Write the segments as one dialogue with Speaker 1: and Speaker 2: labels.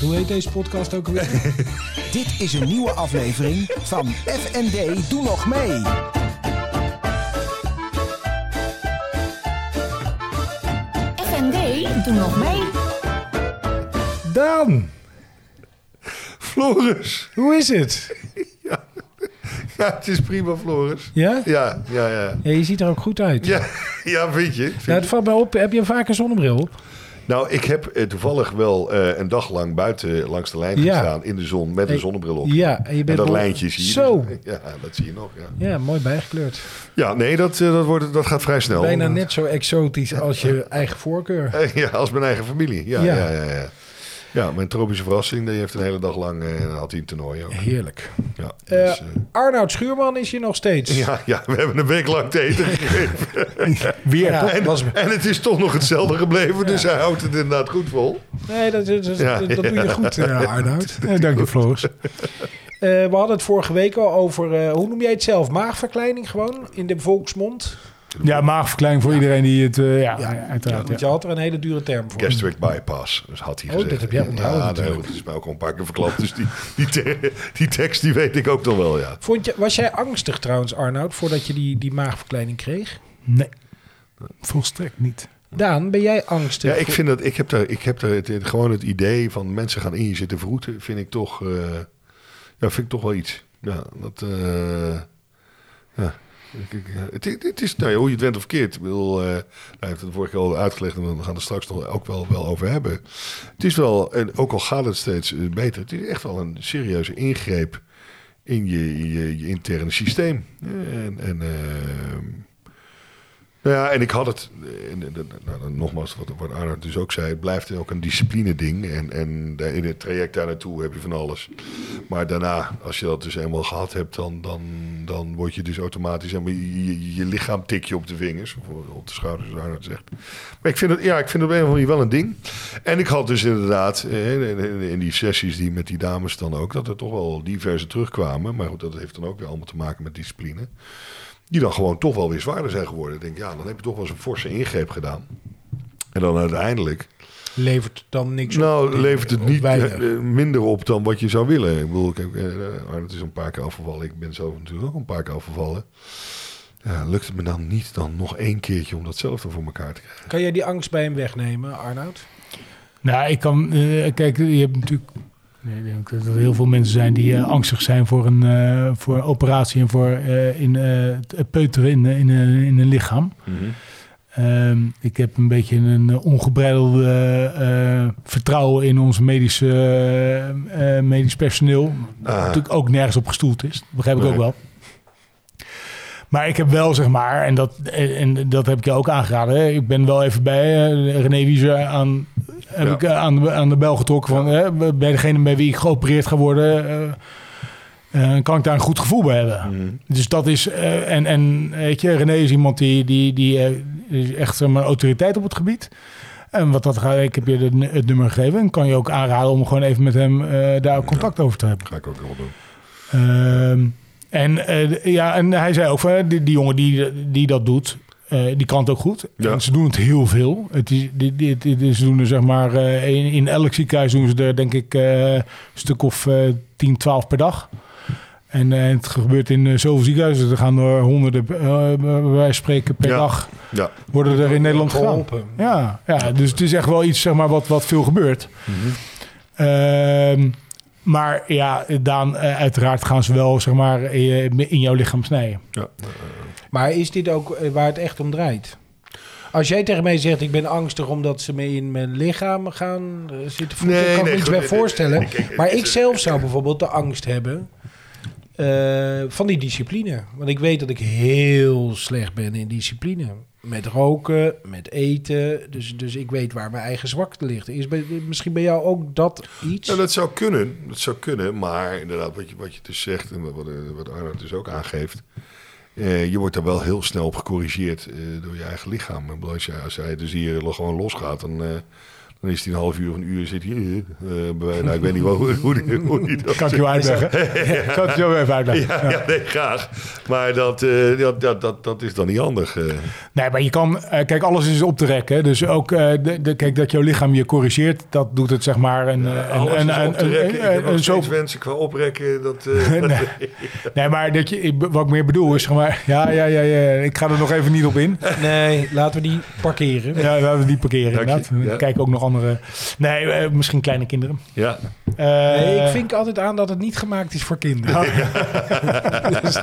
Speaker 1: Hoe heet deze podcast ook alweer?
Speaker 2: Dit is een nieuwe aflevering van FND Doe Nog Mee.
Speaker 3: FND, doe nog mee.
Speaker 1: Daan,
Speaker 4: Floris.
Speaker 1: hoe is het?
Speaker 4: Ja, het is prima, Floris.
Speaker 1: Ja?
Speaker 4: Ja, ja, ja.
Speaker 1: Ja, je ziet er ook goed uit.
Speaker 4: Ja, ja vind je? Vind
Speaker 1: Nou, het
Speaker 4: je?
Speaker 1: valt mij op. Heb je vaak een zonnebril op?
Speaker 4: Nou, ik heb eh, toevallig wel eh, een dag lang buiten eh, langs de lijn
Speaker 1: Ja.
Speaker 4: gestaan in de zon met een
Speaker 1: Hey,
Speaker 4: zonnebril op.
Speaker 1: Ja, en je
Speaker 4: En
Speaker 1: bent
Speaker 4: dat
Speaker 1: wel-
Speaker 4: lijntje zie je. dus.
Speaker 1: Zo.
Speaker 4: Ja, dat zie je nog. Ja,
Speaker 1: Ja, mooi bijgekleurd.
Speaker 4: ja nee, dat, eh, dat, wordt, dat gaat vrij snel.
Speaker 1: Bijna net zo exotisch als je eigen voorkeur.
Speaker 4: Eh, Ja, als mijn eigen familie. Ja,
Speaker 1: Ja.
Speaker 4: ja, ja. ja, ja. mijn tropische verrassing, die heeft een hele dag lang eh, had hij een toernooi ook.
Speaker 1: Heerlijk.
Speaker 4: Ja,
Speaker 1: Eh,
Speaker 4: dus, eh,
Speaker 1: Arnoud Schuurman is hier nog steeds.
Speaker 4: ja, ja, we hebben een week lang te eten gegeven.
Speaker 1: Weer.
Speaker 4: En, en het is toch nog hetzelfde gebleven, dus hij houdt het inderdaad goed vol.
Speaker 1: Nee, dat, dat, dat,
Speaker 4: Ja,
Speaker 1: dat doe je goed, eh, Arnoud. Eh, dank je, Floris. Eh, we hadden het vorige week al over, eh, hoe noem jij het zelf? Maagverkleining gewoon, in de volksmond?
Speaker 5: Ja, maagverkleining voor iedereen die het... eh, ja, uiteraard. Ja,
Speaker 1: Want je had er een hele dure term voor.
Speaker 4: Gastric bypass, dus had hij
Speaker 1: Oh,
Speaker 4: gezegd.
Speaker 1: dat heb jij onthouden
Speaker 4: Ja, nee,
Speaker 1: natuurlijk.
Speaker 4: dat is mij ook al een paar keer verklapt. Dus die, die, te- die tekst die weet ik ook nog wel, ja.
Speaker 1: Vond je, was jij angstig trouwens, Arnoud, voordat je die, die maagverkleining kreeg?
Speaker 5: Nee, volstrekt niet.
Speaker 1: Daan, ben jij angstig?
Speaker 4: Ja, ik vind dat, ik heb daar, ik heb daar het, het- gewoon het idee van mensen gaan in je zitten verroeten, vind ik toch, eh, ja, vind ik toch wel iets. Ja, dat, eh, ja. Ik- ik- Het, het- het is, nou ja, hoe je het went of keert. Ik bedoel, eh, hij heeft het vorige keer al uitgelegd en we gaan het straks nog ook wel, wel over hebben. Het is wel, en ook al gaat het steeds eh, beter, het is echt wel een serieuze ingreep in je, in je, je interne systeem. En, en ehm, nou ja, en ik had het, en, en, en, nou, dan nogmaals, wat, wat Arnoud dus ook zei, het blijft ook een discipline-ding. En, en daar- in het traject daar naartoe heb je van alles. Maar daarna, als je dat dus eenmaal gehad hebt, dan, dan, dan word je dus automatisch, zeg maar, je, je, je lichaam tik je op de vingers, of op de schouders, zoals Arnoud zegt. Maar ik vind het, ja, ik vind het op een of andere manier wel een ding. En ik had dus inderdaad, eh, in, in- in die sessies die met die dames dan ook, dat er toch wel diverse terugkwamen. Maar goed, dat heeft dan ook weer allemaal te maken met discipline die dan gewoon toch wel weer zwaarder zijn geworden. Ik denk, ja, dan heb je toch wel eens een forse ingreep gedaan. En dan uiteindelijk.
Speaker 1: Levert dan niks op?
Speaker 4: Nou, levert het
Speaker 1: Of
Speaker 4: niet
Speaker 1: weinig?
Speaker 4: eh, eh, minder op dan wat je zou willen. Ik bedoel, ik heb, eh, Arnold is een paar keer afgevallen. Ik ben zelf natuurlijk ook een paar keer afgevallen. Ja, lukt het me dan niet dan nog één keertje om datzelfde voor elkaar te krijgen?
Speaker 1: Kan jij die angst bij hem wegnemen, Arnoud?
Speaker 5: Nou, ik kan... eh, kijk, je hebt natuurlijk... Nee, ik denk dat er heel veel mensen zijn die eh, angstig zijn voor een, eh, voor een operatie en voor eh, in, eh, het peuteren in, in, eh, in een lichaam.
Speaker 4: Mhm.
Speaker 5: Ehm, ik heb een beetje een eh, ongebreidelde eh, eh, vertrouwen in ons medische, eh, eh, medisch personeel. Dat
Speaker 4: Ah.
Speaker 5: natuurlijk ook nergens op gestoeld is. Dat begrijp ik
Speaker 4: Nee.
Speaker 5: ook wel. Maar ik heb wel, zeg maar, en dat, en en dat heb ik je ook aangeraden. Hè? Ik ben wel even bij eh, René Wieser aan, heb
Speaker 4: Ja.
Speaker 5: ik, eh, aan, de, aan de bel getrokken. Van, hè, bij degene bij wie ik geopereerd ga worden, eh, eh, kan ik daar een goed gevoel bij hebben.
Speaker 4: Mm. Mhm.
Speaker 5: Dus dat is. eh, en, en weet je, René is iemand die, die, die eh, is echt zeg maar, autoriteit op het gebied. En wat dat gaat, ik heb je de- het nummer gegeven. En kan je ook aanraden om gewoon even met hem eh, daar contact over te hebben.
Speaker 4: Ga ik ook wel doen.
Speaker 5: Ehm, en, eh, d- ja, en hij zei ook van eh, die, die jongen die, die dat doet. eh, die kan het ook goed.
Speaker 4: Ja.
Speaker 5: En ze doen het heel veel. Het is, dit, dit, dit is- ze doen er zeg maar eh, in, in elk ziekenhuis doen ze er denk ik eh, een stuk of eh 10, 12 per dag. En eh, het gebeurt in eh, zoveel ziekenhuizen. Er gaan er honderden, eh, bij wijze van spreken per
Speaker 4: Ja.
Speaker 5: dag,
Speaker 4: Ja,
Speaker 5: worden er in Nederland gedaan.
Speaker 1: Geholpen.
Speaker 5: Ja, ja, dus het is echt wel iets zeg maar, wat, wat veel gebeurt.
Speaker 4: Mhm.
Speaker 5: Ehm, maar ja, Daan, eh, uiteraard gaan ze wel zeg maar, eh, in jouw lichaam snijden.
Speaker 4: ja.
Speaker 1: Maar is dit ook eh, waar het echt om draait? Als jij tegen mij zegt, ik ben angstig omdat ze me in mijn lichaam gaan eh, zitten voelen,
Speaker 4: Nee,
Speaker 1: kan ik me
Speaker 4: nee,
Speaker 1: iets
Speaker 4: goed,
Speaker 1: bij
Speaker 4: eh,
Speaker 1: voorstellen.
Speaker 4: eh, kijk, eh,
Speaker 1: maar
Speaker 4: het
Speaker 1: ik
Speaker 4: is-
Speaker 1: zelf zou bijvoorbeeld de angst hebben eh, van die discipline. Want ik weet dat ik heel slecht ben in discipline. Met roken, met eten. Dus, dus ik weet waar mijn eigen zwakte ligt. Is bij, misschien bij jou ook dat iets?
Speaker 4: Ja, dat zou kunnen. Dat zou kunnen. Maar inderdaad, wat je, wat je dus zegt en wat, eh, wat Arnoud dus ook aangeeft. eh, je wordt daar wel heel snel op gecorrigeerd eh, door je eigen lichaam. Ik bedoel, Als jij, als jij dus hier lo- gewoon losgaat, dan, eh, Dan is hij een half uur of een uur zit hij. eh, eh, bij wijze- nou, ik weet niet wel hoe, hoe, die- hoe die dat
Speaker 5: Kan ik jou uitleggen? Kan ik het jou even uitleggen?
Speaker 4: Ja, ja, nee, graag. Maar dat, eh, dat, dat, dat, dat is dan niet handig. eh.
Speaker 5: Nee, maar je kan, eh, kijk, alles is op te rekken. Dus ook, eh, de, de- kijk, dat jouw lichaam je corrigeert, dat doet het zeg maar een. eh, een-
Speaker 4: Alles
Speaker 5: een-
Speaker 4: is
Speaker 5: een-
Speaker 4: op te
Speaker 5: een-
Speaker 4: rekken. Ik
Speaker 5: een-
Speaker 4: heb nog
Speaker 5: een- zo-
Speaker 4: steeds wensen qua oprekken. Dat, eh,
Speaker 5: Nee. Nee, maar dat je, ik- wat ik meer bedoel is, zeg maar, ja, ja, ja, ja, ik ga er nog even niet op in.
Speaker 1: Nee, laten we die parkeren.
Speaker 5: Ja, laten we die parkeren
Speaker 4: Dank je,
Speaker 5: inderdaad.
Speaker 4: ja.
Speaker 5: We kijken ook nog andere. Nee, eh, misschien kleine kinderen.
Speaker 4: ja,
Speaker 5: Eh,
Speaker 1: Nee, ik vink altijd aan dat het niet gemaakt is voor kinderen.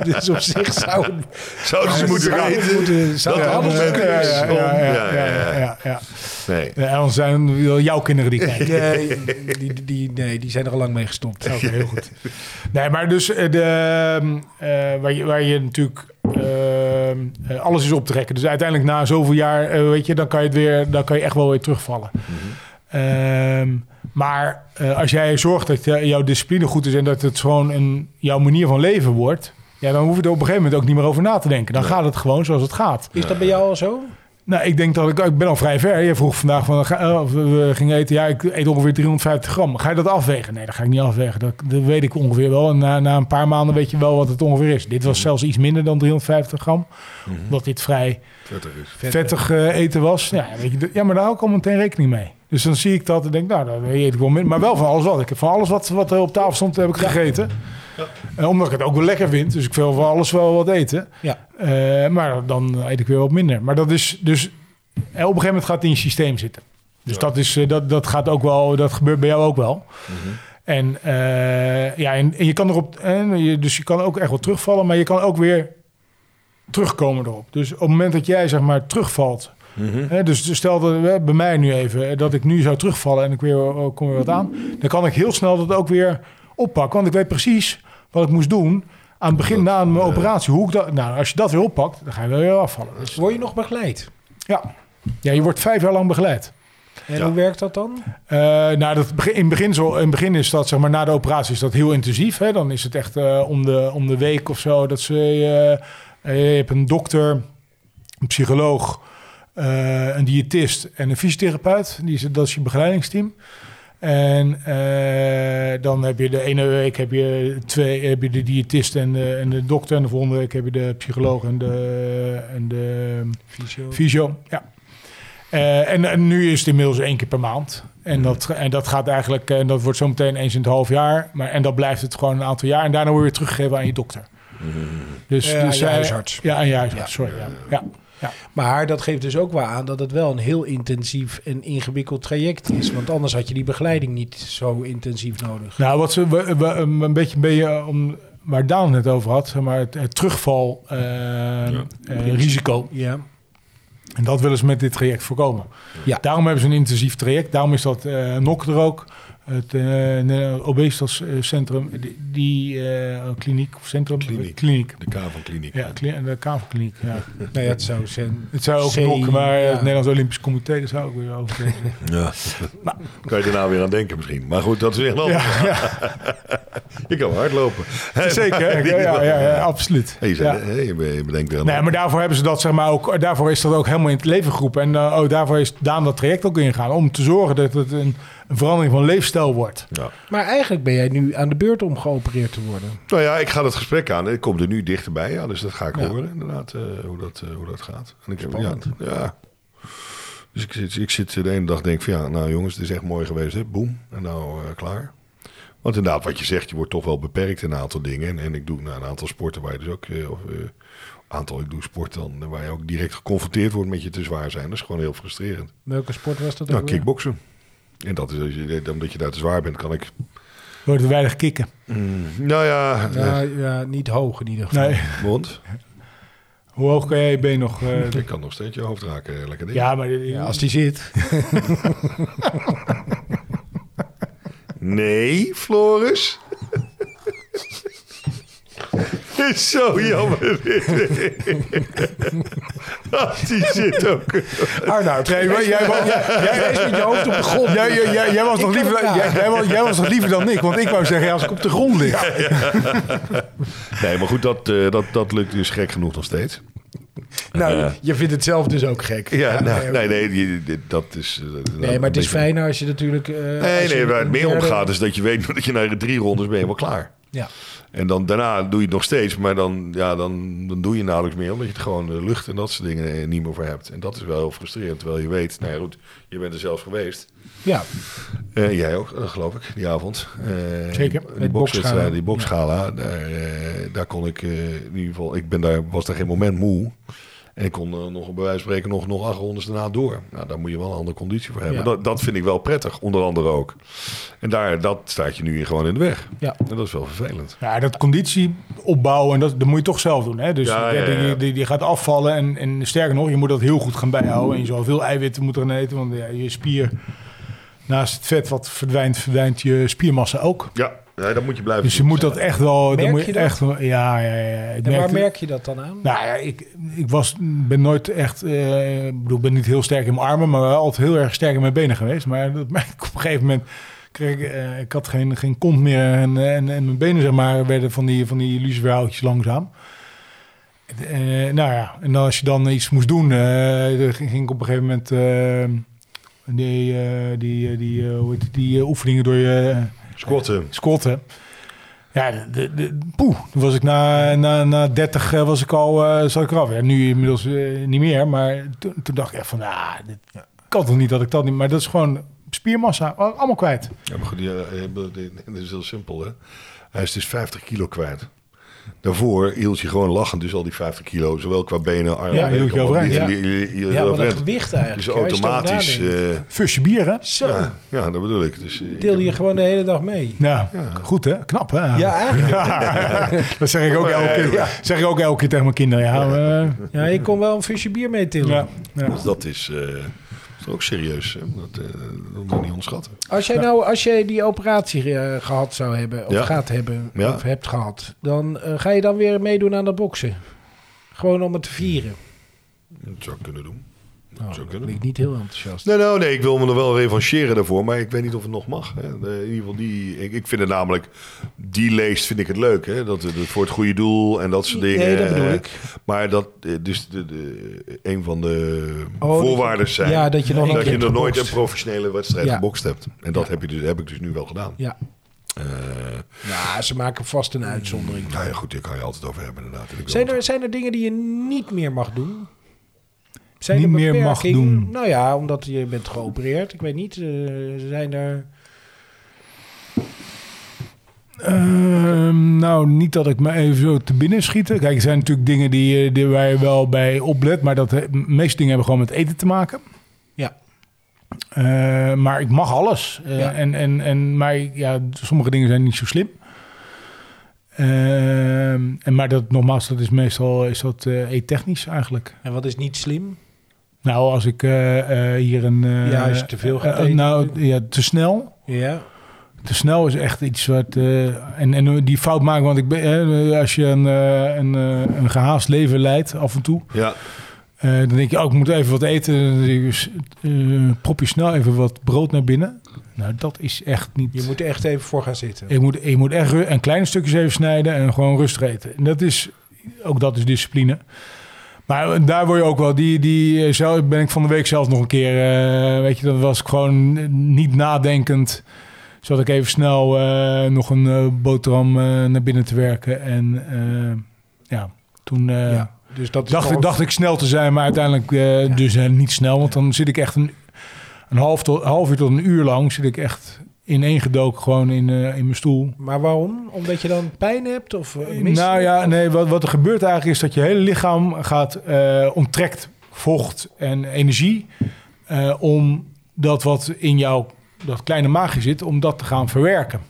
Speaker 1: dus, dus op zich zou het
Speaker 4: zouden ze moeten
Speaker 1: zou het
Speaker 4: weten.
Speaker 1: moeten- zou
Speaker 4: dat
Speaker 1: het
Speaker 5: ja,
Speaker 4: allemaal
Speaker 1: anders
Speaker 5: ja,
Speaker 4: moment
Speaker 1: kunnen.
Speaker 5: ja,
Speaker 4: is
Speaker 5: ja,
Speaker 4: om-
Speaker 5: ja, ja,
Speaker 4: ja, ja, ja.
Speaker 5: ja, ja, ja.
Speaker 4: Nee.
Speaker 5: Ja, anders zijn wel jouw kinderen die kijken.
Speaker 1: Nee, die, die, nee, die zijn er al lang mee gestopt.
Speaker 5: Oké, heel goed. Nee, maar dus eh, de, ehm, eh, waar, je, waar je natuurlijk ehm, eh, alles is op te rekken. Dus uiteindelijk na zoveel jaar, eh, weet je, dan kan je het weer, dan kan je echt wel weer terugvallen. Ehm, maar eh, als jij zorgt dat eh, jouw discipline goed is en dat het gewoon een, jouw manier van leven wordt, ja, dan hoef je er op een gegeven moment ook niet meer over na te denken. Dan gaat het gewoon zoals het gaat.
Speaker 1: Is dat bij jou al zo?
Speaker 5: Nou, ik denk dat ik, ik ben al vrij ver. Je vroeg vandaag van, ga- eh, of we gingen eten. Ja, ik eet ongeveer 350 gram. Ga je dat afwegen? Nee, dat ga ik niet afwegen. Dat, dat weet ik ongeveer wel. En na, na een paar maanden weet je wel wat het ongeveer is. Dit was zelfs iets minder dan 350 gram. Omdat dit vrij
Speaker 4: Prettig is.
Speaker 5: vettig eh, eten was. Ja, weet je, d- ja, maar daar hou ik al meteen rekening mee. Dus dan zie ik dat en denk, nou, dan eet ik wel minder. Maar wel van alles wat. Ik heb van alles wat, wat er op tafel stond, heb ik gegeten. Eh, omdat ik het ook wel lekker vind. Dus ik wil van alles wel wat eten.
Speaker 1: Ja.
Speaker 5: Eh, maar dan eet ik weer wat minder. Maar dat is dus... eh, Op een gegeven moment gaat het in je systeem zitten. Dus dat, is, eh, dat, dat gaat ook wel... Dat gebeurt bij jou ook wel. En, eh, ja, en, en je kan erop... En je, dus je kan ook echt wel terugvallen. Maar je kan ook weer terugkomen erop. Dus op het moment dat jij zeg maar terugvalt... Hè, dus stel dat eh, bij mij nu even eh, dat ik nu zou terugvallen en ik weer oh, kom weer wat aan, dan kan ik heel snel dat ook weer oppakken, want ik weet precies wat ik moest doen aan het begin na mijn operatie. Hoe ik dat, nou, als je dat weer oppakt, dan ga je wel weer afvallen. Dus,
Speaker 1: Word je nog begeleid?
Speaker 5: ja. ja, je wordt vijf jaar lang begeleid.
Speaker 1: En
Speaker 4: Ja.
Speaker 1: hoe werkt dat dan?
Speaker 5: Eh, nou, dat begin, in, het begin zo, in het begin is dat, zeg maar, na de operatie is dat heel intensief. Hè? Dan is het echt eh, om, de, om de week of zo dat ze... eh, eh, je hebt een dokter, een psycholoog, eh, een diëtist en een fysiotherapeut. Die is, dat is je begeleidingsteam. En eh, dan heb je de ene week heb je, twee, heb je de diëtist en de, en de dokter. En de volgende week heb je de psycholoog en de, en de
Speaker 1: Fysio.
Speaker 5: Visio, ja. Eh, en, en nu is het inmiddels één keer per maand. En dat, en dat gaat eigenlijk, en dat wordt zometeen eens in het half jaar. Maar, en dat blijft het gewoon een aantal jaar. En daarna word je weer teruggegeven aan je dokter. Dus,
Speaker 1: Eh, aan je
Speaker 5: zij-
Speaker 1: huisarts.
Speaker 5: Ja, aan je huisarts, sorry. Ja. Ja.
Speaker 1: Maar dat geeft dus ook wel aan dat het wel een heel intensief en ingewikkeld traject is. Want anders had je die begeleiding niet zo intensief nodig.
Speaker 5: Nou, wat ze, we, we- een beetje, ben je om, waar Daan het over had, zeg maar het, het terugval eh, eh, risico.
Speaker 1: Ja.
Speaker 5: En dat willen ze met dit traject voorkomen.
Speaker 1: Ja.
Speaker 5: Daarom hebben ze een intensief traject. Daarom is dat eh NOC er ook. Het eh obesitascentrum, die, die eh, kliniek of centrum?
Speaker 4: Kliniek.
Speaker 5: kliniek.
Speaker 4: De K van kliniek.
Speaker 5: Ja, kli- eh, de kavelkliniek. Ja.
Speaker 1: Nou ja, het zou zijn.
Speaker 5: Het zou ook
Speaker 1: C,
Speaker 5: NOC, maar
Speaker 1: ja.
Speaker 5: het Nederlands Olympisch Comité, daar zou ik weer over zeggen.
Speaker 4: Ja. Kan je er nou weer aan denken misschien. Maar goed, dat is weer een ander.
Speaker 5: ja, ja,
Speaker 4: Je kan wel hardlopen.
Speaker 5: zeker. Ja, ja, ja, ja, absoluut.
Speaker 4: Hey, je, zei-
Speaker 5: Ja.
Speaker 4: hey, je be- je bedenkt weer aan
Speaker 5: Nee, maar daarvoor hebben ze dat zeg maar ook. Daarvoor is dat ook helemaal in het leven geroepen. En eh, oh, daarvoor is Daan dat traject ook ingegaan. Om te zorgen dat het een, een verandering van leefstijl wordt.
Speaker 4: Ja.
Speaker 1: Maar eigenlijk ben jij nu aan de beurt om geopereerd te worden.
Speaker 4: Nou ja, ik ga dat gesprek aan. Ik kom er nu dichterbij. Ja, dus dat ga ik horen inderdaad, eh, hoe, dat, eh, hoe dat gaat. En ik heb, ja,
Speaker 1: Spannend.
Speaker 4: ja. Dus ik zit, ik zit de ene dag denk ik van ja, nou jongens, het is echt mooi geweest. Hè? Boom. En nou eh, klaar. Want inderdaad, wat je zegt, je wordt toch wel beperkt in een aantal dingen. En, en ik doe nou, een aantal sporten waar je dus ook... eh, of, eh, aantal, ik doe sport dan, eh, waar je ook direct geconfronteerd wordt met je te zwaar zijn. Dat is gewoon heel frustrerend.
Speaker 1: Welke sport was dat?
Speaker 4: Nou,
Speaker 1: ook weer?
Speaker 4: kickboksen. En dat is, als je- eh, omdat je daar te zwaar bent, kan ik...
Speaker 5: Door te weinig kikken.
Speaker 4: Nou ja, eh,
Speaker 1: Nou, ja, niet hoog in ieder geval.
Speaker 5: Nee.
Speaker 4: want
Speaker 5: Hoe hoog kan jij je been nog? eh,
Speaker 4: je kan nog steeds je hoofd raken. eh, Lekker ding.
Speaker 5: ja, maar
Speaker 1: Ja,
Speaker 5: als
Speaker 1: als die zit.
Speaker 4: Nee, Floris. Dit is zo jammer. Als die zit ook.
Speaker 5: Arnoud, jij, jij, jij,
Speaker 1: Jij is met je hoofd op de grond.
Speaker 5: jij, jij, jij, jij was
Speaker 1: Ik
Speaker 5: nog
Speaker 1: kan
Speaker 5: liever,
Speaker 1: het
Speaker 5: jij, jij was, jij was nog liever dan ik, want ik wou zeggen, ja, als ik op de grond lig.
Speaker 4: Nee, maar goed, dat, eh, dat, dat lukt dus gek genoeg nog steeds.
Speaker 1: Nou,
Speaker 4: Ja.
Speaker 1: je vindt het zelf dus ook gek.
Speaker 4: Ja, nou,
Speaker 1: nee,
Speaker 4: nee, nee, die- die- dat is... eh,
Speaker 1: nee, maar het is fijn als je natuurlijk... eh,
Speaker 4: Nee,
Speaker 1: als je
Speaker 4: nee, waar het meer om
Speaker 1: derde-
Speaker 4: gaat is dat je weet dat je na drie rondes ben je wel klaar.
Speaker 1: Ja.
Speaker 4: En dan daarna doe je het nog steeds, maar dan, ja, dan, dan doe je nauwelijks meer. Omdat je het gewoon de lucht en dat soort dingen eh, niet meer voor hebt. En dat is wel heel frustrerend. Terwijl je weet, nou ja, goed, je bent er zelfs geweest.
Speaker 1: ja,
Speaker 4: Eh, jij ook, eh, geloof ik, die avond. Eh,
Speaker 5: Zeker,
Speaker 4: Die
Speaker 1: met
Speaker 4: boksgala,
Speaker 1: boksgala.
Speaker 4: die boksgala daar, eh, daar kon ik eh, in ieder geval, ik ben daar, was daar geen moment moe. En ik kon eh, nog bij wijze van spreken nog, nog acht rondes daarna door. Nou, daar moet je wel een andere conditie voor hebben.
Speaker 1: Ja.
Speaker 4: Dat, dat vind ik wel prettig, onder andere ook. En daar, dat staat je nu hier gewoon in de weg.
Speaker 1: ja.
Speaker 4: En dat is wel vervelend.
Speaker 5: Ja, dat conditie opbouwen, dat, dat moet je toch zelf doen. Hè? Dus
Speaker 4: Ja,
Speaker 5: ja,
Speaker 4: ja, ja.
Speaker 5: Die, die, die gaat afvallen en, en sterker nog, je moet dat heel goed gaan bijhouden. En je zal veel eiwitten moeten gaan eten, want ja, je spier... Naast het vet wat verdwijnt, verdwijnt je spiermassa ook.
Speaker 4: Ja, ja dat moet je blijven
Speaker 5: Dus je
Speaker 4: doen.
Speaker 5: moet dat echt wel...
Speaker 1: Merk
Speaker 5: moet
Speaker 1: je dat?
Speaker 5: Echt, wel- ja, ja, ja. Ik
Speaker 1: En waar
Speaker 5: merkte-
Speaker 1: merk je dat dan aan?
Speaker 5: Nou ja, ik, ik was, ben nooit echt... eh, Ik bedoel, ik ben niet heel sterk in mijn armen, maar wel altijd heel erg sterk in mijn benen geweest. Maar dat merk ik op een gegeven moment... Kreeg, ik, eh, ik had geen, geen kont meer en, en, en mijn benen zeg maar, werden van die, van die luciferhoutjes langzaam. Eh, nou ja, en dan als je dan iets moest doen, eh, dan ging, ging ik op een gegeven moment eh, die, eh, die, eh, die, eh, hoe heet het, die eh, oefeningen door je
Speaker 4: Squatten.
Speaker 5: squatten. Ja, de, de, poeh, toen was ik na, na, na 30 eh, was ik al, eh zat ik eraf. Ja, nu inmiddels eh, niet meer, maar toen, toen dacht ik echt van, ah, dit kan toch niet dat ik dat niet... Maar dat is gewoon spiermassa, al- allemaal kwijt.
Speaker 4: Ja, maar goed, ja, eh, dat is heel simpel, hè. Hij is dus 50 kilo kwijt. Daarvoor hield je gewoon lachend dus al die 50 kilo, zowel qua benen, armen...
Speaker 5: Ja, hield je
Speaker 4: allemaal.
Speaker 5: overeind,
Speaker 4: Die-
Speaker 1: ja.
Speaker 4: die- die- die-
Speaker 1: ja, maar dat
Speaker 4: overeind.
Speaker 1: gewicht eigenlijk.
Speaker 4: Dus
Speaker 1: hè, als je erover
Speaker 4: Eh, automatisch...
Speaker 1: nadenkt.
Speaker 4: eh,
Speaker 5: Fusje bier, hè?
Speaker 1: Zo,
Speaker 4: ja, ja, dat bedoel ik. Dus, eh, ik
Speaker 1: deel
Speaker 4: heb-
Speaker 1: je gewoon de hele dag mee.
Speaker 5: Ja, Nou, goed hè? Knap hè?
Speaker 1: Ja, eigenlijk.
Speaker 5: Ja, dat zeg ik, ook elke keer, zeg ik ook elke keer tegen mijn kinderen. Ja, eh,
Speaker 1: Ja, ik kon wel een fusje bier mee tillen.
Speaker 5: ja, ja.
Speaker 4: Dus dat is, eh, dat is ook serieus. Hè? Dat, eh, dat moet je niet onderschatten.
Speaker 1: Als jij nou, als jij die operatie eh, gehad zou hebben, of
Speaker 4: Ja.
Speaker 1: gaat hebben,
Speaker 4: Ja.
Speaker 1: of hebt gehad, dan eh, ga je dan weer meedoen aan dat boksen. Gewoon om het te vieren.
Speaker 4: Dat zou ik kunnen doen.
Speaker 1: Nou,
Speaker 4: zou
Speaker 1: dat
Speaker 4: kunnen.
Speaker 1: klinkt niet heel enthousiast.
Speaker 4: Nee, nou, nee, ik wil me er wel revancheren daarvoor, maar ik weet niet of het nog mag. Hè. De- In ieder geval, die, ik, ik vind het namelijk, die leest vind ik het leuk. Hè. Dat, dat voor het goede doel en dat soort dingen.
Speaker 1: Nee, dat bedoel
Speaker 4: eh,
Speaker 1: ik.
Speaker 4: Maar dat eh, dus de, de, een van de
Speaker 1: Oh,
Speaker 4: voorwaarden
Speaker 1: dat-
Speaker 4: zijn
Speaker 1: Ja, dat je nog een
Speaker 4: dat
Speaker 1: keer
Speaker 4: je nog nooit een
Speaker 1: gebokst.
Speaker 4: professionele wedstrijd
Speaker 1: Ja.
Speaker 4: gebokst hebt. En dat heb, je dus, heb ik dus nu wel gedaan.
Speaker 1: Ja.
Speaker 4: Eh,
Speaker 1: ja, ze maken vast een uitzondering.
Speaker 4: nou ja, goed, daar kan je altijd over hebben inderdaad. En ik wil
Speaker 1: Zijn
Speaker 4: het-
Speaker 1: er, zijn er dingen die je niet meer mag doen? Zijn
Speaker 5: Niet
Speaker 1: er
Speaker 5: meer mag
Speaker 1: beperkingen?
Speaker 5: doen.
Speaker 1: Nou ja, omdat je bent geopereerd. Ik weet niet, eh, zijn er...
Speaker 5: Ehm, nou, niet dat ik me even zo te binnen schieten. Kijk, er zijn natuurlijk dingen die, eh, die waar je wel bij oplet. Maar dat, de meeste dingen hebben gewoon met eten te maken.
Speaker 1: Ja.
Speaker 5: Eh, maar ik mag alles. Eh,
Speaker 1: Ja.
Speaker 5: en, en, en, maar ja, sommige dingen zijn niet zo slim. Ehm, en, maar dat, nogmaals, dat is meestal is dat, eh eettechnisch eigenlijk.
Speaker 1: En wat is niet slim?
Speaker 5: Nou, als ik eh, eh, hier een... eh,
Speaker 1: Ja, als je te veel gaat
Speaker 5: eh, eh,
Speaker 1: eten
Speaker 5: Nou,
Speaker 1: natuurlijk.
Speaker 5: ja, te snel.
Speaker 1: Ja,
Speaker 5: Te snel is echt iets wat. eh, en, en die fout maken, want ik ben, eh, als je een, eh, een, eh, een gehaast leven leidt af en toe.
Speaker 4: Ja,
Speaker 5: eh, dan denk je, oh, ik moet even wat eten. Dus, eh, prop je snel even wat brood naar binnen. Nou, dat is echt niet.
Speaker 1: je moet er echt even voor gaan zitten.
Speaker 5: je, moet, je moet echt ru- en kleine stukjes even snijden en gewoon rustig eten. En dat is. Ook dat is discipline. Maar daar word je ook wel. Die, die eh, zelf, ben ik van de week zelf nog een keer. eh, weet je, dat was ik gewoon niet nadenkend. Zat ik even snel eh, nog een eh, boterham eh, naar binnen te werken. En eh, ja, toen eh,
Speaker 1: Ja, dus dat is
Speaker 5: dacht, ik,
Speaker 1: gewoon-
Speaker 5: dacht ik snel te zijn. Maar uiteindelijk eh, dus eh, niet snel. Want dan zit ik echt een, een half, tot, half uur tot een uur lang. Zit ik echt ineengedoken gewoon in, eh, in mijn stoel.
Speaker 1: Maar waarom? Omdat je dan pijn hebt? Of, eh, misselijk?
Speaker 5: Nou ja, nee, wat, wat er gebeurt eigenlijk is dat je hele lichaam gaat eh onttrekt vocht en energie eh, om dat wat in jouw dat kleine maagje zit, om dat te gaan verwerken.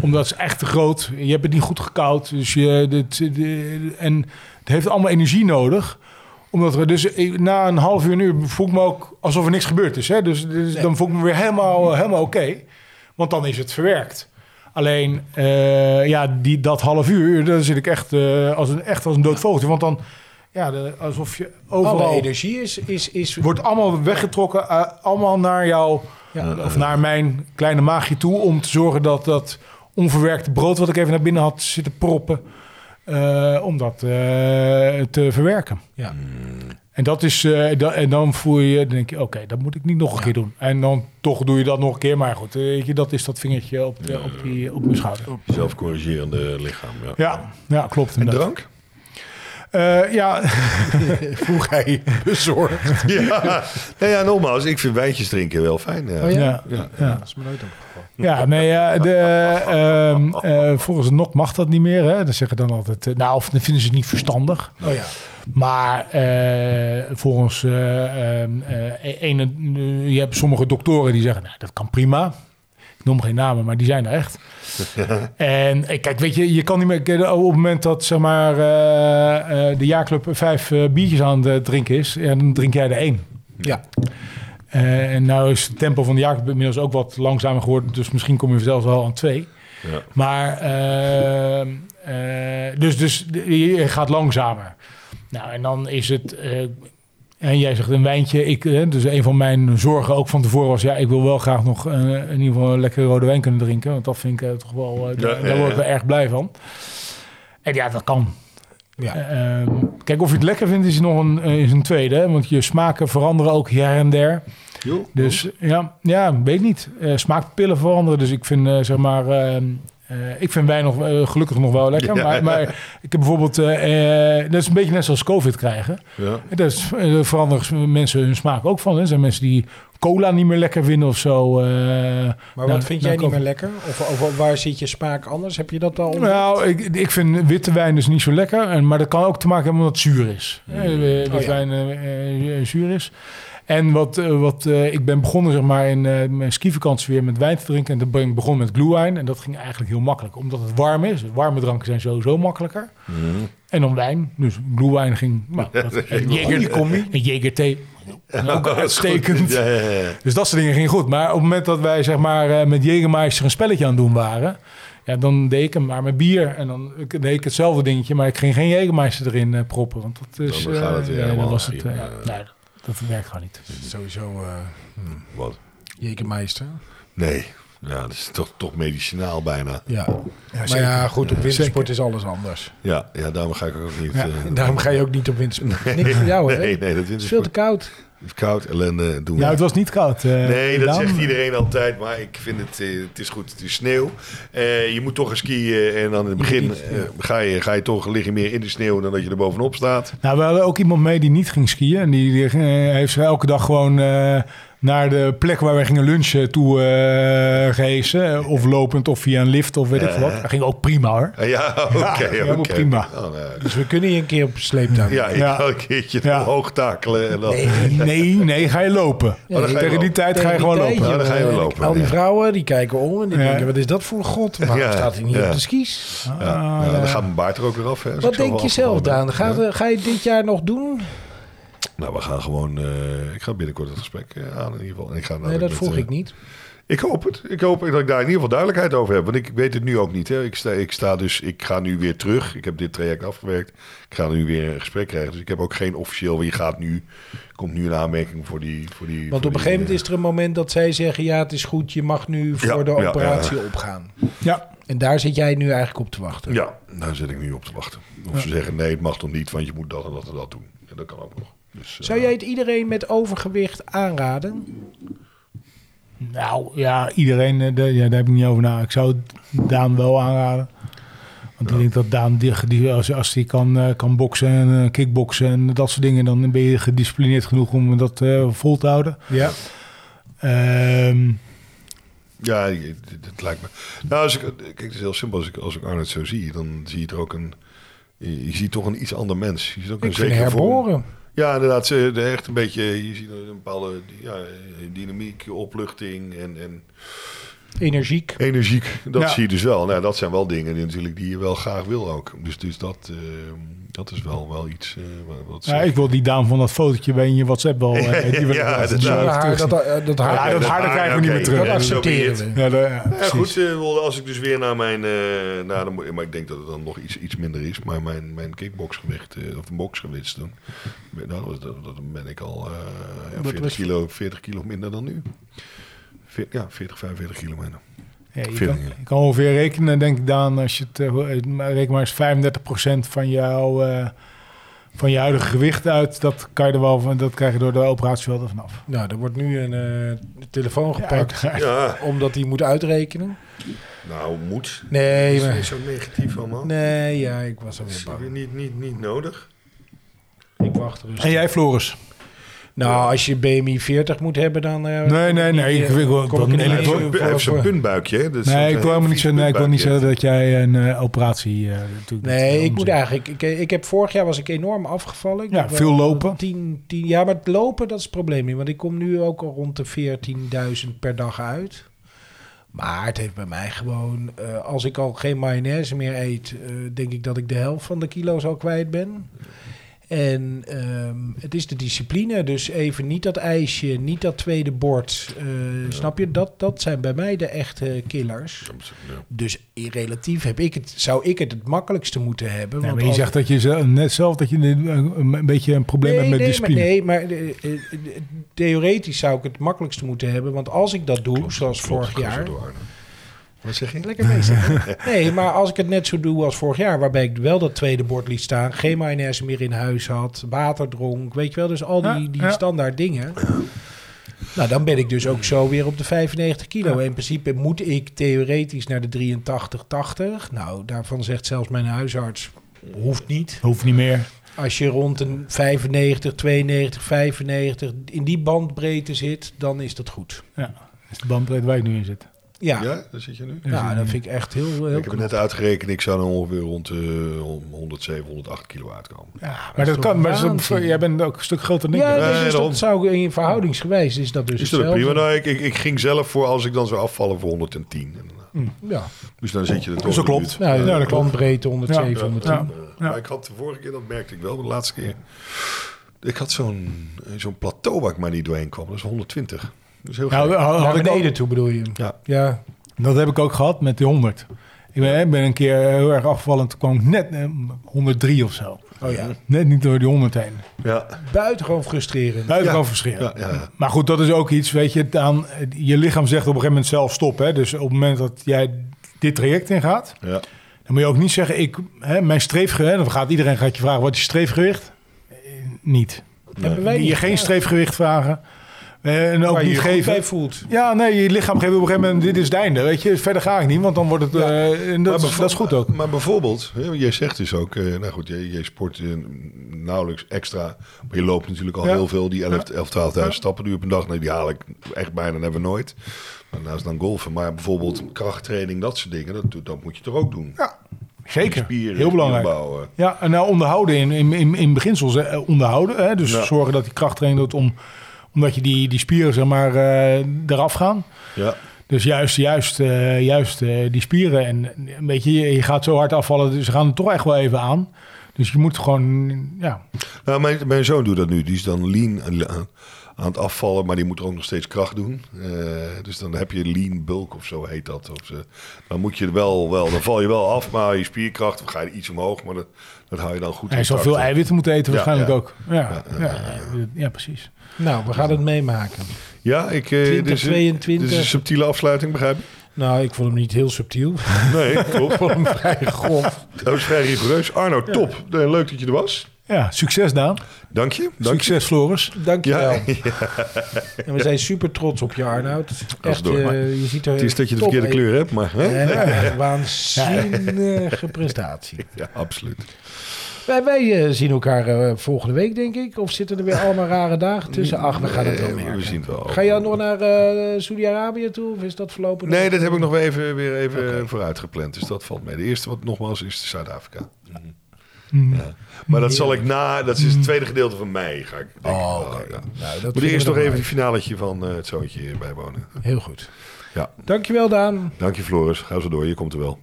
Speaker 5: Omdat het is echt te groot. Je hebt het niet goed gekoud. Dus je, dit, dit- en het heeft allemaal energie nodig. Omdat er dus eh, na een half uur, een uur voel ik me ook alsof er niks gebeurd is. Hè? Dus, dus dan voel ik me weer helemaal, eh, helemaal oké. Want dan is het verwerkt. Alleen, eh, ja, die, dat half uur, daar zit ik echt, eh, als, een, echt als een dood vogeltje. Want dan, ja, de- alsof je
Speaker 1: Alle
Speaker 5: overal...
Speaker 1: energie is... is, is
Speaker 5: Wordt allemaal weggetrokken, eh, allemaal naar jou,
Speaker 1: Ja.
Speaker 5: of naar mijn kleine maagje toe... om te zorgen dat dat onverwerkte brood wat ik even naar binnen had zitten proppen... eh, om dat eh, te verwerken.
Speaker 1: Ja.
Speaker 5: En, dat is, eh, da- en dan voel je, dan denk je, oké, dat moet ik niet nog een keer doen. En dan toch doe je dat nog een keer. Maar goed, eh, weet je, dat is dat vingertje op, de- op, die, op mijn schouder.
Speaker 3: Zelfcorrigerende lichaam. Ja.
Speaker 5: Ja, ja klopt.
Speaker 4: En
Speaker 5: inderdaad.
Speaker 4: drank?
Speaker 5: Eh, ja,
Speaker 4: Vroeg hij dus bezorgd. ja. Nou ja, nogmaals, ik vind wijntjes drinken wel fijn. Ja.
Speaker 1: Oh ja?
Speaker 5: ja.
Speaker 4: Ja.
Speaker 5: ja.
Speaker 1: Dat is me nooit opgevallen.
Speaker 5: Ja, nee, eh, de, ehm, eh, volgens de NOC mag dat niet meer. Hè? Dan zeggen dan altijd, eh, nou, of dan vinden ze het niet verstandig.
Speaker 1: Oh ja.
Speaker 5: Maar eh, volgens eh, ehm, eh, ene, eh, je hebt sommige doktoren die zeggen, nou, dat kan prima. Ik noem geen namen, maar die zijn er echt. en eh, kijk, weet je, je kan niet meer kijk, op het moment dat zeg maar eh, eh, de jaarclub vijf eh, biertjes aan het drinken is, en dan drink jij er één.
Speaker 1: Ja.
Speaker 5: Eh, en nou is het tempo van de jaarclub inmiddels ook wat langzamer geworden. Dus misschien kom je zelfs wel aan twee.
Speaker 4: Ja.
Speaker 5: Maar, ehm, eh, dus, dus je gaat langzamer. Nou, en dan is het... eh, en jij zegt een wijntje. Ik, eh, dus een van mijn zorgen ook van tevoren was... ja, ik wil wel graag nog eh, in ieder geval een lekkere rode wijn kunnen drinken. Want dat vind ik eh, toch wel... eh, daar,
Speaker 4: ja,
Speaker 5: daar word ik
Speaker 4: ja.
Speaker 5: wel erg blij van. En ja, dat kan.
Speaker 1: Ja.
Speaker 5: Eh, ehm, kijk, of je het lekker vindt is nog een, eh, is een tweede. hè, Want je smaken veranderen ook hier en der.
Speaker 4: Joh.
Speaker 5: Dus ja, ja weet niet. Eh smaakpillen veranderen. Dus ik vind, eh, zeg maar, eh, eh, ik vind wijn nog, eh, gelukkig nog wel lekker.
Speaker 4: Ja.
Speaker 5: Maar, maar ik heb bijvoorbeeld, eh, eh, dat is een beetje net zoals COVID krijgen.
Speaker 4: Ja.
Speaker 5: Daar is- eh, daar veranderen mensen hun smaak ook van. hè. Er zijn mensen die cola niet meer lekker vinden of zo. eh.
Speaker 1: Maar
Speaker 5: Nou,
Speaker 1: wat vind
Speaker 5: nou
Speaker 1: jij niet
Speaker 5: komen-
Speaker 1: meer lekker? Of, of waar zit je smaak anders? Heb je dat al?
Speaker 5: nou, ik, ik vind witte wijn dus niet zo lekker. En, maar dat kan ook te maken hebben omdat het zuur is. Eh, eh,
Speaker 1: Oh,
Speaker 5: Witte
Speaker 1: ja.
Speaker 5: wijn eh, eh, zuur is. En wat, eh, wat eh, ik ben begonnen zeg maar, in eh, mijn skivakantie weer met wijn te drinken. En dan ben ik begonnen met glühwein. En dat ging eigenlijk heel makkelijk. Omdat het warm is. Warme dranken zijn sowieso makkelijker. En dan wijn. Dus glühwein ging... Nou, dat, en Jäger, en Jägerthee. Ook uitstekend.
Speaker 4: Ja, ja, ja.
Speaker 5: Dus dat soort dingen ging goed. Maar op het moment dat wij zeg maar, eh, met Jägermeister een spelletje aan het doen waren... Ja, dan deed ik hem maar met bier. En dan ik- deed ik hetzelfde dingetje, maar ik ging geen Jägermeister erin eh, proppen. Want dat is...
Speaker 4: Dan gaat
Speaker 5: eh,
Speaker 4: het weer
Speaker 5: nee,
Speaker 4: helemaal
Speaker 5: dat was het,
Speaker 4: hier.
Speaker 5: eh, ja. nee, dat- dat werkt gewoon niet.
Speaker 1: Sowieso eh,
Speaker 4: Wat?
Speaker 1: Jekermeister.
Speaker 4: Nee. Ja, dat is toch, toch medicinaal bijna.
Speaker 1: Ja. maar ja, goed, op wintersport is alles anders.
Speaker 4: Ja, ja daarom ga ik ook niet...
Speaker 5: Ja,
Speaker 4: eh,
Speaker 1: Daarom ga je ook niet op wintersport. Niks voor jou, hè?
Speaker 4: nee, nee, dat
Speaker 1: Het
Speaker 4: is
Speaker 1: is veel te koud.
Speaker 4: koud, ellende, doen we
Speaker 5: Ja,
Speaker 4: niet.
Speaker 5: het was niet koud. eh,
Speaker 4: Nee, dat
Speaker 5: Daan.
Speaker 4: zegt iedereen altijd, maar ik vind het, eh, het is goed. Het is sneeuw. Eh, je moet toch eens skiën en dan in het begin eh, ga, je, ga je toch liggen meer in de sneeuw dan dat je er bovenop staat.
Speaker 5: Nou, we hadden ook iemand mee die niet ging skiën. En die, die, eh, heeft zich elke dag gewoon eh, naar de plek waar wij gingen lunchen toe eh gehezen. Of lopend, of via een lift, of weet ik veel wat. Dat ging ook prima, hoor.
Speaker 4: Ah, ja, oké, oké.
Speaker 5: helemaal prima.
Speaker 4: Oh, nou,
Speaker 1: Dus we kunnen je een keer op sleeptouw.
Speaker 4: ja, ik
Speaker 5: Ja.
Speaker 4: ga een keertje
Speaker 5: Ja.
Speaker 4: omhoog takelen en dan...
Speaker 5: Nee, nee, ga je lopen.
Speaker 4: Oh, dan ga je
Speaker 5: Tegen die
Speaker 4: lopen.
Speaker 5: tijd
Speaker 1: Tegen
Speaker 5: ga je
Speaker 1: die
Speaker 5: gewoon
Speaker 1: tijd,
Speaker 5: lopen.
Speaker 4: Ja, dan ga je
Speaker 1: joh.
Speaker 4: wel lopen,
Speaker 1: Al die
Speaker 4: ja.
Speaker 1: vrouwen die kijken om en die
Speaker 5: Ja.
Speaker 1: denken: wat is dat voor een god? Waarom
Speaker 4: Ja,
Speaker 1: staat hij niet
Speaker 4: ja.
Speaker 1: op de skis?
Speaker 4: Ja, ja, dan gaat mijn baard er ook weer af. Hè, als
Speaker 1: Wat
Speaker 4: ik zo
Speaker 1: denk je
Speaker 4: afgevallen
Speaker 1: zelf,
Speaker 4: ben.
Speaker 1: Daan? Ga,
Speaker 4: Ja.
Speaker 1: ga je dit jaar nog doen?
Speaker 4: Nou, we gaan gewoon... eh, ik ga binnenkort het gesprek eh, aan in ieder geval. En ik ga
Speaker 1: Nee, dat vroeg
Speaker 4: vroeg
Speaker 1: ik niet.
Speaker 4: Ik hoop het. Ik hoop dat ik daar in ieder geval duidelijkheid over heb. Want ik weet het nu ook niet. Hè. Ik, sta, ik sta dus, ik ga nu weer terug. Ik heb dit traject afgewerkt. Ik ga nu weer een gesprek krijgen. Dus ik heb ook geen officieel. Je gaat nu, komt nu een aanmerking voor die. Voor die
Speaker 1: Want
Speaker 4: voor
Speaker 1: op een
Speaker 4: die, eh,
Speaker 1: gegeven moment is er een moment dat zij zeggen: ja, het is goed, je mag nu voor
Speaker 4: Ja,
Speaker 1: de
Speaker 4: ja, ja.
Speaker 1: operatie opgaan.
Speaker 5: Ja,
Speaker 1: En daar zit jij nu eigenlijk op te wachten.
Speaker 4: eh, Ja, daar zit ik nu op te wachten. Of ze zeggen nee, het mag toch niet, want je moet dat en dat en dat doen. En dat kan ook nog. Dus, eh,
Speaker 1: Zou jij het iedereen met overgewicht aanraden?
Speaker 5: nou ja, iedereen, eh, daar, ja, daar heb ik niet over na. Ik zou het Daan wel aanraden. Want ik denk dat Daan, die, die- als, als die kan, eh, kan boksen en eh, kickboksen en dat soort dingen, dan ben je gedisciplineerd genoeg om dat eh, vol te houden.
Speaker 1: Ja.
Speaker 5: Ehm,
Speaker 4: Ja, het lijkt me. Nou, als ik, kijk, het is heel simpel. Als ik, als ik Arnold zo zie, dan zie je er ook een. Je je ziet toch een iets ander mens. Je ziet ook een
Speaker 1: Ik vind
Speaker 4: zekere vorm.
Speaker 1: herboren.
Speaker 4: Ja, inderdaad. Ze, de- echt een beetje, je ziet een bepaalde ja, dynamiek, opluchting en, en
Speaker 1: Energiek.
Speaker 4: energiek. Dat
Speaker 5: Ja.
Speaker 4: zie je dus wel. Nou, dat zijn wel dingen die, natuurlijk, die je wel graag wil ook. Dus, dus dat, eh, dat is wel, wel iets eh, wa- wat...
Speaker 5: ja, ik wil die Daan van dat fotootje bij in je WhatsApp wel. eh, die wil ik
Speaker 4: Ja,
Speaker 5: wel even
Speaker 4: dat-
Speaker 5: zo
Speaker 1: Dat
Speaker 5: even
Speaker 1: haar,
Speaker 5: terugzien.
Speaker 1: dat, eh, dat haar.
Speaker 5: Ja, dat haar, dat krijgen we niet meer terug.
Speaker 1: Dat
Speaker 5: dat-
Speaker 1: accepteren we.
Speaker 5: Ja, daar- ja,
Speaker 4: Ja,
Speaker 5: precies.
Speaker 4: goed, eh, wel, als ik dus weer naar mijn... eh, naar de, mo- maar ik denk dat het dan nog iets, iets minder is. Maar mijn, mijn kickboxgewicht, eh, of boxgewicht doen... Nou, dat, dat- dat ben ik al eh, ja,
Speaker 1: Dat
Speaker 4: 40,
Speaker 1: was-
Speaker 4: kilo, 40 kilo minder dan nu. Veer- ja, 40, 45 kilo minder.
Speaker 5: Ja, je, kan,
Speaker 4: Veel dingen.
Speaker 5: je kan ongeveer rekenen, denk ik dan, als je het eh, ho- eh, maar reken maar eens 35% van jouw eh, van je huidige gewicht uit. Dat kan je er wel van, dat krijg je door de operatie wel er vanaf.
Speaker 1: Nou, er wordt nu een eh, telefoon gepakt.
Speaker 4: Ja,
Speaker 1: omdat hij moet uitrekenen.
Speaker 4: nou, moet.
Speaker 1: Nee,
Speaker 4: is niet
Speaker 1: maar,
Speaker 4: zo negatief allemaal.
Speaker 1: nee, ja, ik was alweer
Speaker 4: Is
Speaker 1: bang.
Speaker 4: niet, niet, niet nodig.
Speaker 1: Ik wacht
Speaker 5: En
Speaker 1: rustig.
Speaker 5: jij, Floris?
Speaker 1: Nou, als je BMI 40 moet hebben, dan... eh,
Speaker 5: Nee, nee, nee. Ik,
Speaker 1: kom
Speaker 5: wil- ik, wil-
Speaker 1: in
Speaker 5: nee,
Speaker 1: de
Speaker 5: ik wil-
Speaker 1: voor-
Speaker 4: Hij heeft zo'n
Speaker 1: voor-
Speaker 4: puntbuikje. hè? Dat is
Speaker 5: nee,
Speaker 4: zo'n
Speaker 5: ik wil helemaal niet,
Speaker 4: vies
Speaker 5: zo, nee, ik wil niet
Speaker 4: puntbuikje.
Speaker 5: zeggen dat jij een eh, operatie eh doet.
Speaker 1: Nee, ik moet
Speaker 5: Onzin.
Speaker 1: eigenlijk. Ik, ik heb vorig jaar was ik enorm afgevallen. Ik
Speaker 5: Ja,
Speaker 1: heb wel
Speaker 5: veel lopen.
Speaker 1: 10, 10, ja, maar het lopen, dat is het probleem niet. Want ik kom nu ook al rond de 14.000 per dag uit. Maar het heeft bij mij gewoon. eh, als ik al geen mayonaise meer eet, eh, denk ik dat ik de helft van de kilo's al kwijt ben. En ehm, het is de discipline. Dus even niet dat ijsje, niet dat tweede bord. eh, Snap je? Dat, dat zijn bij mij de echte killers.
Speaker 4: Ja.
Speaker 1: Dus i- relatief heb ik het, zou ik het het makkelijkste moeten hebben.
Speaker 5: Nee,
Speaker 1: want
Speaker 5: maar je
Speaker 1: als-
Speaker 5: zegt dat je zelf, net zelf dat je een, een- een beetje een probleem hebt met
Speaker 1: nee,
Speaker 5: die spier.
Speaker 1: Maar, nee, maar eh, eh, eh, theoretisch zou ik het makkelijkste moeten hebben. Want als ik dat doe, zoals
Speaker 4: Klopt,
Speaker 1: vorig jaar...
Speaker 4: klopt, door Arne. Wat zeg je?
Speaker 1: Lekker bezig. nee, maar als ik het net zo doe als vorig jaar... waarbij ik wel dat tweede bord liet staan... geen mayonaise meer in huis had, water dronk... weet je wel, dus al die,
Speaker 5: Ja,
Speaker 1: die
Speaker 5: ja.
Speaker 1: standaard dingen... Nou, dan ben ik dus ook zo weer op de 95 kilo. In principe moet ik theoretisch naar de 83, 80. Nou, daarvan zegt zelfs mijn huisarts... hoeft niet.
Speaker 5: Hoeft niet meer.
Speaker 1: Als je rond een 95, 92, 95 in die bandbreedte zit, dan is dat goed.
Speaker 5: Ja, dat is de bandbreedte waar ik nu in zit.
Speaker 1: Ja, ja,
Speaker 4: Ja, daar zit je nu.
Speaker 1: dat vind ik echt heel, heel
Speaker 4: Ik heb het
Speaker 1: knap.
Speaker 4: net uitgerekend, ik zou dan ongeveer rond eh 107, 108 kilo uitkomen.
Speaker 5: Ja, maar dat
Speaker 1: toch
Speaker 5: kan. Maar dat is ook-
Speaker 1: waanzin?
Speaker 5: jij bent ook een stuk groter dan ik.
Speaker 1: Ja,
Speaker 5: ben.
Speaker 1: nee,
Speaker 4: Nee,
Speaker 1: dus
Speaker 4: daarom.
Speaker 1: dat zou in verhoudingsgewijs is dat dus
Speaker 4: Is dat
Speaker 1: hetzelfde.
Speaker 4: prima? Nou, ik, ik, ik ging zelf voor als ik dan zou afvallen voor 110. En, eh,
Speaker 1: Ja,
Speaker 4: Dus dan zit je er toch.
Speaker 5: Zo
Speaker 4: in de
Speaker 5: klopt.
Speaker 4: buurt.
Speaker 1: nou,
Speaker 5: Ja, dat
Speaker 1: de
Speaker 5: klopt.
Speaker 1: bandbreedte 100,
Speaker 5: Ja.
Speaker 1: 700.
Speaker 5: Ja.
Speaker 4: Eh, Maar ik had de vorige keer, dat merkte ik wel, de laatste keer. Ik had zo'n eh, zo'n plateau waar ik maar niet doorheen kwam. Dat is 120. Oh, Dat is heel
Speaker 5: Nou,
Speaker 4: gek.
Speaker 5: had,
Speaker 1: Naar
Speaker 5: had ik ook-
Speaker 1: beneden toe bedoel je?
Speaker 4: Ja.
Speaker 1: ja.
Speaker 5: dat heb ik ook gehad met die 100. Ik ben, ik ben een keer eh, heel erg afgevallen. Toen kwam ik net eh, 103 of zo.
Speaker 1: Oh ja.
Speaker 5: Net niet door die 100 heen.
Speaker 4: Ja,
Speaker 1: Buitengewoon frustrerend.
Speaker 5: Buitengewoon
Speaker 4: Ja.
Speaker 5: verschil.
Speaker 4: ja, ja.
Speaker 5: Maar goed, dat is ook iets, weet je, dan, je lichaam zegt op een gegeven moment zelf stop. Hè? Dus op het moment dat jij dit traject ingaat,
Speaker 4: ja.
Speaker 5: dan moet je ook niet zeggen, ik, hè, mijn streefgewicht, dan gaat iedereen gaat je vragen, wat is je streefgewicht? Eh, Niet.
Speaker 1: Hebben wij
Speaker 5: Je
Speaker 1: niet
Speaker 5: geen streefgewicht vragen eh, en ook
Speaker 1: waar je
Speaker 5: niet
Speaker 1: je goed bij
Speaker 5: geven.
Speaker 1: voelt.
Speaker 5: Ja, nee, je lichaam geeft op een gegeven moment, dit is het einde, weet je. Verder ga ik niet, want dan wordt het, eh, en dat,
Speaker 4: Maar
Speaker 5: is,
Speaker 4: bijvo-
Speaker 5: dat is goed ook.
Speaker 4: Maar bijvoorbeeld, hè, want jij zegt dus ook, eh, nou goed, jij, jij sport eh, nauwelijks extra. Maar je loopt natuurlijk al
Speaker 5: Ja.
Speaker 4: heel veel, die 11,
Speaker 5: Ja.
Speaker 4: 11 12.000 stappen nu op een dag. Nee, die haal ik echt bijna never nooit. Maar naast dan golfen. Maar bijvoorbeeld krachttraining, dat soort dingen, dat, doet- dat moet je toch ook doen.
Speaker 5: Ja, zeker.
Speaker 4: Spieren,
Speaker 5: Heel belangrijk.
Speaker 4: bouwen.
Speaker 5: Ja, en nou onderhouden in, in, in, in beginsels hè, onderhouden. Hè? Dus
Speaker 4: Ja.
Speaker 5: zorgen dat die krachttraining doet om, omdat je die, die spieren zeg maar eh, eraf gaan.
Speaker 4: Ja,
Speaker 5: Dus juist, juist, eh, juist eh, die spieren. En een beetje, je, je gaat zo hard afvallen, dus ze gaan er toch echt wel even aan. Dus je moet gewoon, ja.
Speaker 4: nou, mijn, mijn zoon doet dat nu. Die is dan lean aan- aan, aan het afvallen, maar die moet er ook nog steeds kracht doen. Eh, dus dan heb je lean bulk of zo heet dat. Of ze- dan moet je er wel, wel, dan val je wel af, maar je spierkracht, dan ga je iets omhoog, maar dat, dat hou je dan goed.
Speaker 5: Hij zal
Speaker 4: intact.
Speaker 5: veel eiwitten moeten eten
Speaker 4: Ja,
Speaker 5: waarschijnlijk
Speaker 4: ja.
Speaker 5: ook. Ja, ja, ja, precies.
Speaker 1: Nou, we gaan het meemaken.
Speaker 4: Ja, ik, eh, dit, is,
Speaker 1: 2022.
Speaker 4: dit is een subtiele afsluiting, begrijp ik?
Speaker 1: Nou, ik vond hem niet heel subtiel.
Speaker 4: Nee, klopt.
Speaker 1: Vrij grof.
Speaker 4: Dat was vrij rigoureus. Arno, top. Eh, Leuk dat je er was.
Speaker 5: Ja, succes Daan.
Speaker 4: Dank je. Dank je.
Speaker 5: Succes Floris.
Speaker 1: Dank je
Speaker 4: Ja,
Speaker 1: wel. En we zijn super trots op je, Arnoud. Echt,
Speaker 4: door.
Speaker 1: eh,
Speaker 4: Maar
Speaker 1: je ziet er
Speaker 4: Het is dat je de
Speaker 1: top
Speaker 4: verkeerde
Speaker 1: uit.
Speaker 4: kleur hebt, maar... Hè?
Speaker 1: En, eh, waanzinnige prestatie.
Speaker 4: Ja, absoluut.
Speaker 1: Wij, wij eh, zien elkaar eh, volgende week, denk ik. Of zitten er weer allemaal rare dagen tussen? Ach, we gaan het wel
Speaker 4: Eh, we
Speaker 1: merken.
Speaker 4: zien het wel.
Speaker 1: Ga jij nog naar eh Saudi-Arabië toe? Of is dat voorlopig? nog?
Speaker 4: Nee, dat heb ik nog wel even, weer even eh, vooruit gepland. Dus dat valt mee. De eerste wat nogmaals is Zuid-Afrika.
Speaker 1: Mhm.
Speaker 4: Ja. Maar dat zal ik na... Dat is het tweede gedeelte van mei. Ga ik, denk ik wel,
Speaker 1: Oh, oké.
Speaker 4: ja.
Speaker 1: Nou, dat
Speaker 4: Moet
Speaker 1: vinden we
Speaker 4: eerst nog
Speaker 1: dan
Speaker 4: even
Speaker 1: wel.
Speaker 4: het finaletje van eh, het zoontje bijwonen.
Speaker 1: Heel goed.
Speaker 4: Ja.
Speaker 1: Dankjewel, Daan.
Speaker 4: Dank je, Floris. Ga zo door. Je komt er wel.